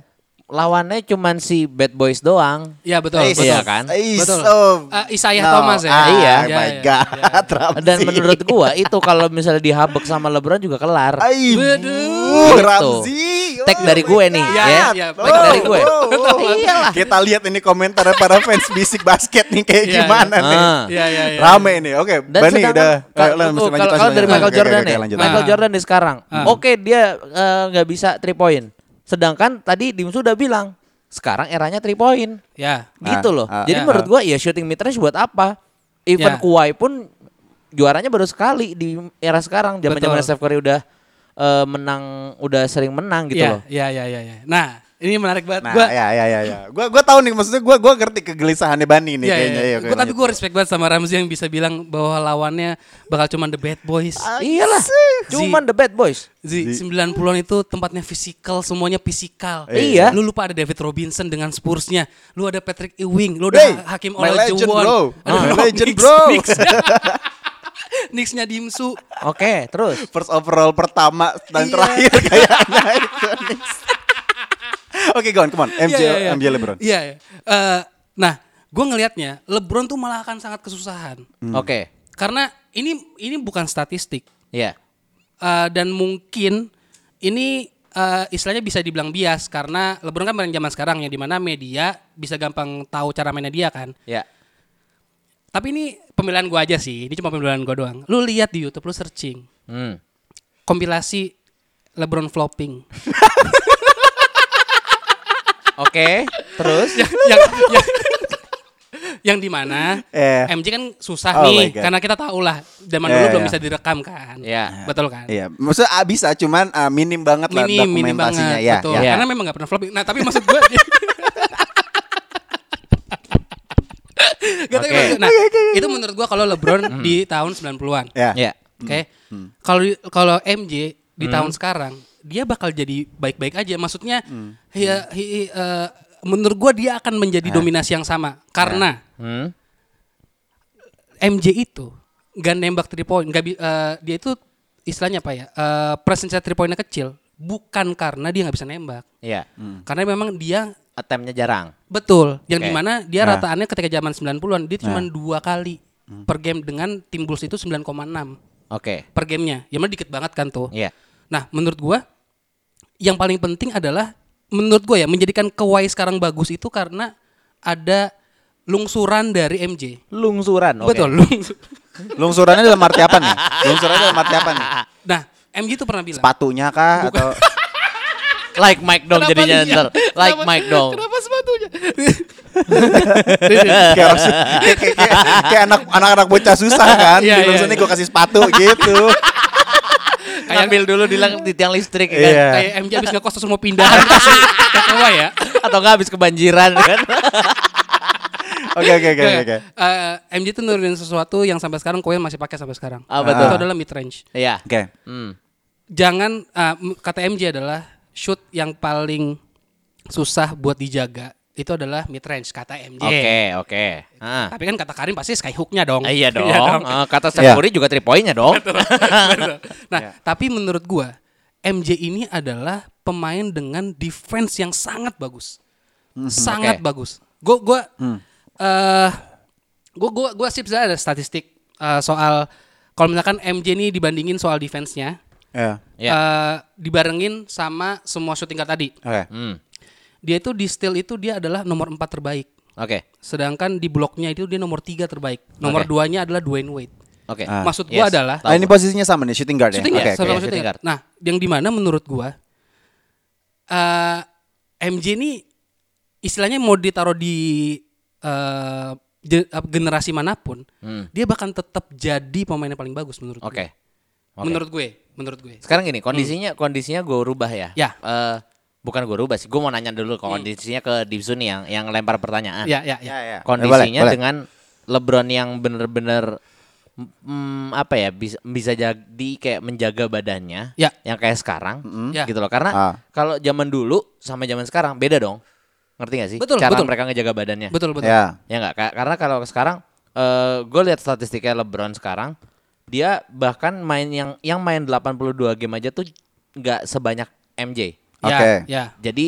lawannya cuman si Bad Boys doang.
ya betul,
Is-
betul.
Iya kan?
is-
Betul.
oh,
Ah, Isaiah Thomas ya?
Ah, Oh
Iya.
my
Iya, iya,
god.
Dan
Ramsey.
menurut gua itu kalau misalnya dihabek sama LeBron juga kelar.
Aibu,
Waduh.
Ramzi.
Tag
Oh
dari
my
gue nih,
God.
ya. Ya, tag
Oh,
dari gue.
oh, oh.
Iyalah.
Kita lihat ini komentar para fans bisik basket nih kayak
Iya,
gimana
iya.
nih.
Ah.
Iya, iya, iya.
Rame nih. Oke, Bani
sedangkan-
udah. Ayo,
ka-
lah,
tuh,
mesti lanjut,
kalau-
lanjut,
kalau dari
lanjut. Oke,
Michael
oke,
Jordan
oke,
ya,
lanjut.
Michael
Ah.
Jordan di sekarang.
Ah.
Oke dia eh, nggak bisa three point. Sedangkan tadi Dim sudah bilang sekarang eranya three point.
Ya.
Gitu
Ah,
loh.
ah,
Jadi
ya.
menurut gua ya shooting mid range buat apa?
Ya.
Even Kuwait pun juaranya baru sekali di era sekarang. Zaman-zaman
Betul.
Steph Curry udah eh, menang, udah sering menang gitu
ya,
loh.
Ya, ya, ya, ya. Nah, ini menarik banget.
Nah,
gua,
ya ya ya ya. Gua gua tahu nih maksudnya gua gua ngerti kegelisahannya Bani nih
ya, ya,
kayaknya.
ya.
Iya, oke,
Gua- tapi
lanjut.
gue respect banget sama Ramzi yang bisa bilang bahwa lawannya bakal cuman the bad boys.
Iyalah. Cuman the bad boys.
Zi, 90-an itu tempatnya fisikal, semuanya fisikal.
Eh.
Iya.
Lu lupa ada David Robinson dengan Spurs-nya. Lu ada Patrick Ewing, lu
Hey,
ada Hakim
my legend,
Olajuwon.
bro.
Aduh,
My
no,
legend,
Knicks-
bro.
Knicks. Knicks-nya Dimsu.
Oke, terus.
first overall pertama dan
Iya.
terakhir kayaknya itu. Oke, go on, come on. MJ
Iya, iya, iya.
MJ LeBron.
Iya, iya. Eh, nah, gue ngelihatnya LeBron tuh malah akan sangat kesusahan.
Hmm.
Oke.
Karena ini ini bukan statistik.
Ya.
Eh, dan mungkin ini eh, istilahnya bisa dibilang bias karena LeBron kan main zaman sekarang ya di mana media bisa gampang tahu cara mainnya dia kan.
Ya.
Tapi ini pemilihan gua aja sih. Ini cuma pemilihan gua doang. Lu lihat di YouTube, lu searching
Hmm.
kompilasi LeBron flopping.
Oke, terus.
yang yang, yang, yang di mana
Eh.
MJ kan susah
Oh my
nih
God.
karena kita tahu lah zaman
Iya,
dulu belum
iya.
bisa direkam kan.
Iya.
Betul kan?
Iya, maksudnya ah, bisa cuman ah, minim banget lah
Minim, minim
dokumentasinya
banget.
ya.
betul.
ya.
ya.
Karena memang gak pernah flopping. Nah, tapi maksud gue Gak
Oke.
Nah, itu menurut gua kalau LeBron di tahun 90-an.
Hmm. Ya.
Ya.
Oke. Kalau kalau MJ di tahun sekarang dia bakal jadi baik-baik aja. Maksudnya
Hmm.
ya hi- hi- eh, menurut gua dia akan menjadi
Eh.
dominasi yang sama karena
Hmm. Eh.
MJ itu nggak nembak three point, nggak bi- eh, dia itu istilahnya apa ya? Eh presence three pointnya kecil bukan karena dia nggak bisa nembak.
Ya.
Karena memang dia
Attempt-nya jarang.
betul yang
Oke. Nah.
dimana dia
Nah.
rataannya ketika zaman 90-an dia cuma dua kali
Hmm.
per game dengan tim Bulls itu 9,6
Oke.
per gamenya. Ya mana dikit banget kan tuh.
Iya.
Nah, menurut gua yang paling penting adalah menurut gua ya menjadikan Kawhi sekarang bagus itu karena ada lungsuran dari MJ.
Lungsuran. oke.
Betul, lungsu-
Lungsurannya dalam arti apa nih? Lungsurannya dalam arti apa nih?
Nah, MJ itu pernah bilang.
Patunya kah atau
Like Mike dong
Kenapa
jadinya
dia?
ntar. Like
Kenapa-
Mike dong.
Kenapa sepatunya?
kayak, orang- kayak, kayak- kayak- kayak anak anak-anak bocah susah kan?
Iya, iya,
Lungsurnya
iya.
gue kasih sepatu gitu.
Kayak ambil dulu di lang- di tiang listrik ya kan.
Iya.
Kayak MJ habis ngekos terus mau pindahan ke Kawhi ya.
atau nggak habis kebanjiran kan?
Oke oke oke
Nggak,
oke.
eh, MJ tuh nurunin sesuatu yang sampai sekarang Koen masih pakai sampai sekarang.
Apa tuh?
Itu adalah mid range.
Iya.
Oke.
Hmm.
Jangan eh, m- kata MJ adalah shoot yang paling susah buat dijaga itu adalah mid range kata MJ.
Oke, oke. Ah.
Tapi kan kata Karim pasti sky hooknya dong.
Iya dong. Eh, kata
Iya.
Sakuri juga three point-nya dong.
nah,
ya.
tapi menurut gua MJ ini adalah pemain dengan defense yang sangat bagus. Sangat
Mhm, Oke. Hmm.
bagus. Gua gua eh, gua gua gua sih sebenarnya ada statistik eh, soal kalau misalkan MJ ini dibandingin soal defense-nya
Ya.
Iya.
eh, dibarengin sama semua shooting guard tadi.
Oke.
Hmm.
Dia itu di steal itu dia adalah nomor 4 terbaik.
Oke.
Sedangkan di bloknya itu dia nomor 3 terbaik. Nomor
Oke.
duanya adalah Dwayne Wade.
Oke.
Ah.
Maksud gua
Yes.
adalah
Ah, ini posisinya sama nih shooting guard
Shooting
ya. Oke.
ya,
oke.
sama
oke,
shooting
shooting
guard. Nah, yang di mana menurut gua eh MJ ini istilahnya mau ditaruh di eh, ge- apa, generasi manapun,
Hmm.
dia bahkan tetap jadi pemain yang paling bagus menurut
Oke.
gue. Menurut gue, menurut gue.
Sekarang gini, kondisinya kondisinya gue rubah ya.
Ya.
Eh, bukan gue rubah sih. Gue mau nanya dulu kondisinya ke Dibsuni yang yang lempar pertanyaan.
Ya, ya, ya.
Ya, ya.
Kondisinya
Boleh, boleh.
dengan LeBron yang bener-bener mm, apa ya bisa, bisa jadi kayak menjaga badannya
Ya.
yang kayak sekarang
Ya.
gitu loh karena
Ah.
kalau zaman dulu sama zaman sekarang beda dong ngerti gak sih
Betul,
cara
betul.
mereka ngejaga badannya
Betul, betul.
Ya.
Ya nggak Ka- karena kalau sekarang eh gue lihat statistiknya LeBron sekarang dia bahkan main yang yang main 82 game aja tuh nggak sebanyak MJ.
Ya,
Oke.
Ya.
Jadi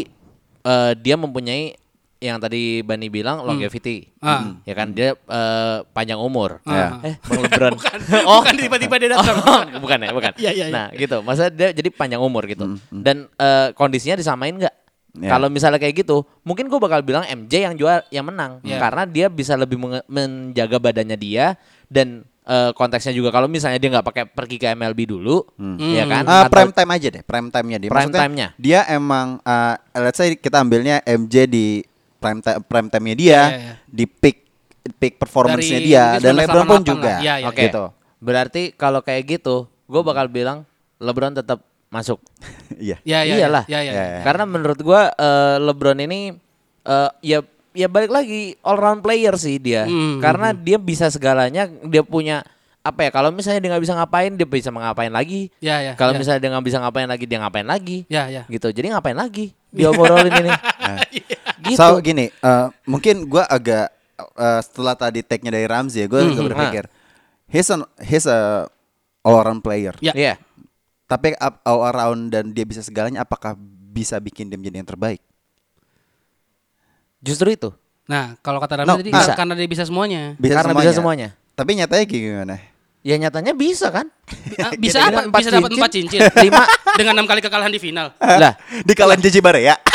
eh dia mempunyai yang tadi Bani bilang longevity.
Hmm. Ah.
Ya kan dia eh, panjang umur.
Ah.
Eh, Bang LeBron.
Oh, bukan tiba-tiba dia datang.
Oh, bukan ya, bukan.
Iya, iya, iya.
Nah, gitu. Masa dia jadi panjang umur gitu. Dan eh, kondisinya disamain nggak?
Iya.
Kalau misalnya kayak gitu, mungkin gue bakal bilang MJ yang jual yang menang
Iya.
karena dia bisa lebih menge- menjaga badannya dia dan eh, konteksnya juga kalau misalnya dia nggak pakai pergi ke MLB dulu,
Hmm.
ya kan?
Ah,
Atau-
prime time aja deh, prime time-nya dia.
Prime
Maksudnya,
time-nya.
Dia emang eh let's say kita ambilnya MJ di prime time prime time-nya dia,
Iya, iya.
di peak peak performance-nya
Dari
dia
mungkin
dan LeBron pun
1988
juga.
lah. Iya, iya.
Oke.
Gitu.
Ya, Berarti kalau kayak gitu, gue bakal bilang LeBron tetap masuk.
Iya.
Ya, ya,
Iyalah.
Ya, ya, ya.
Ya, ya.
Karena menurut gua eh, LeBron ini eh, ya ya balik lagi all round player sih dia.
Hmm.
Karena dia bisa segalanya, dia punya apa ya? Kalau misalnya dia nggak bisa ngapain, dia bisa ngapain lagi.
Ya, ya,
Kalau
ya.
misalnya dia nggak bisa ngapain lagi, dia ngapain lagi.
Ya, ya.
Gitu. Jadi ngapain lagi? Dia obrolin ini. gitu.
So gini, eh, mungkin gua agak eh, setelah tadi tag-nya dari Ramzi ya,
Hmm,
gue berpikir he's an, he's a all around player.
Ya.
Iya.
Tapi up- all around dan dia bisa segalanya apakah bisa bikin dia menjadi yang terbaik?
Justru itu.
Nah, kalau kata Ramzi
No,
tadi
bisa.
karena dia bisa semuanya.
Bisa
Karena bisa semuanya.
Tapi nyatanya kayak gimana?
Ya nyatanya bisa kan?
Ah, bisa apa?
Empat
Bisa dapat
cincin?
empat cincin.
Lima.
dengan enam kali kekalahan di final.
lah,
Di kalian Jiji Bare ya.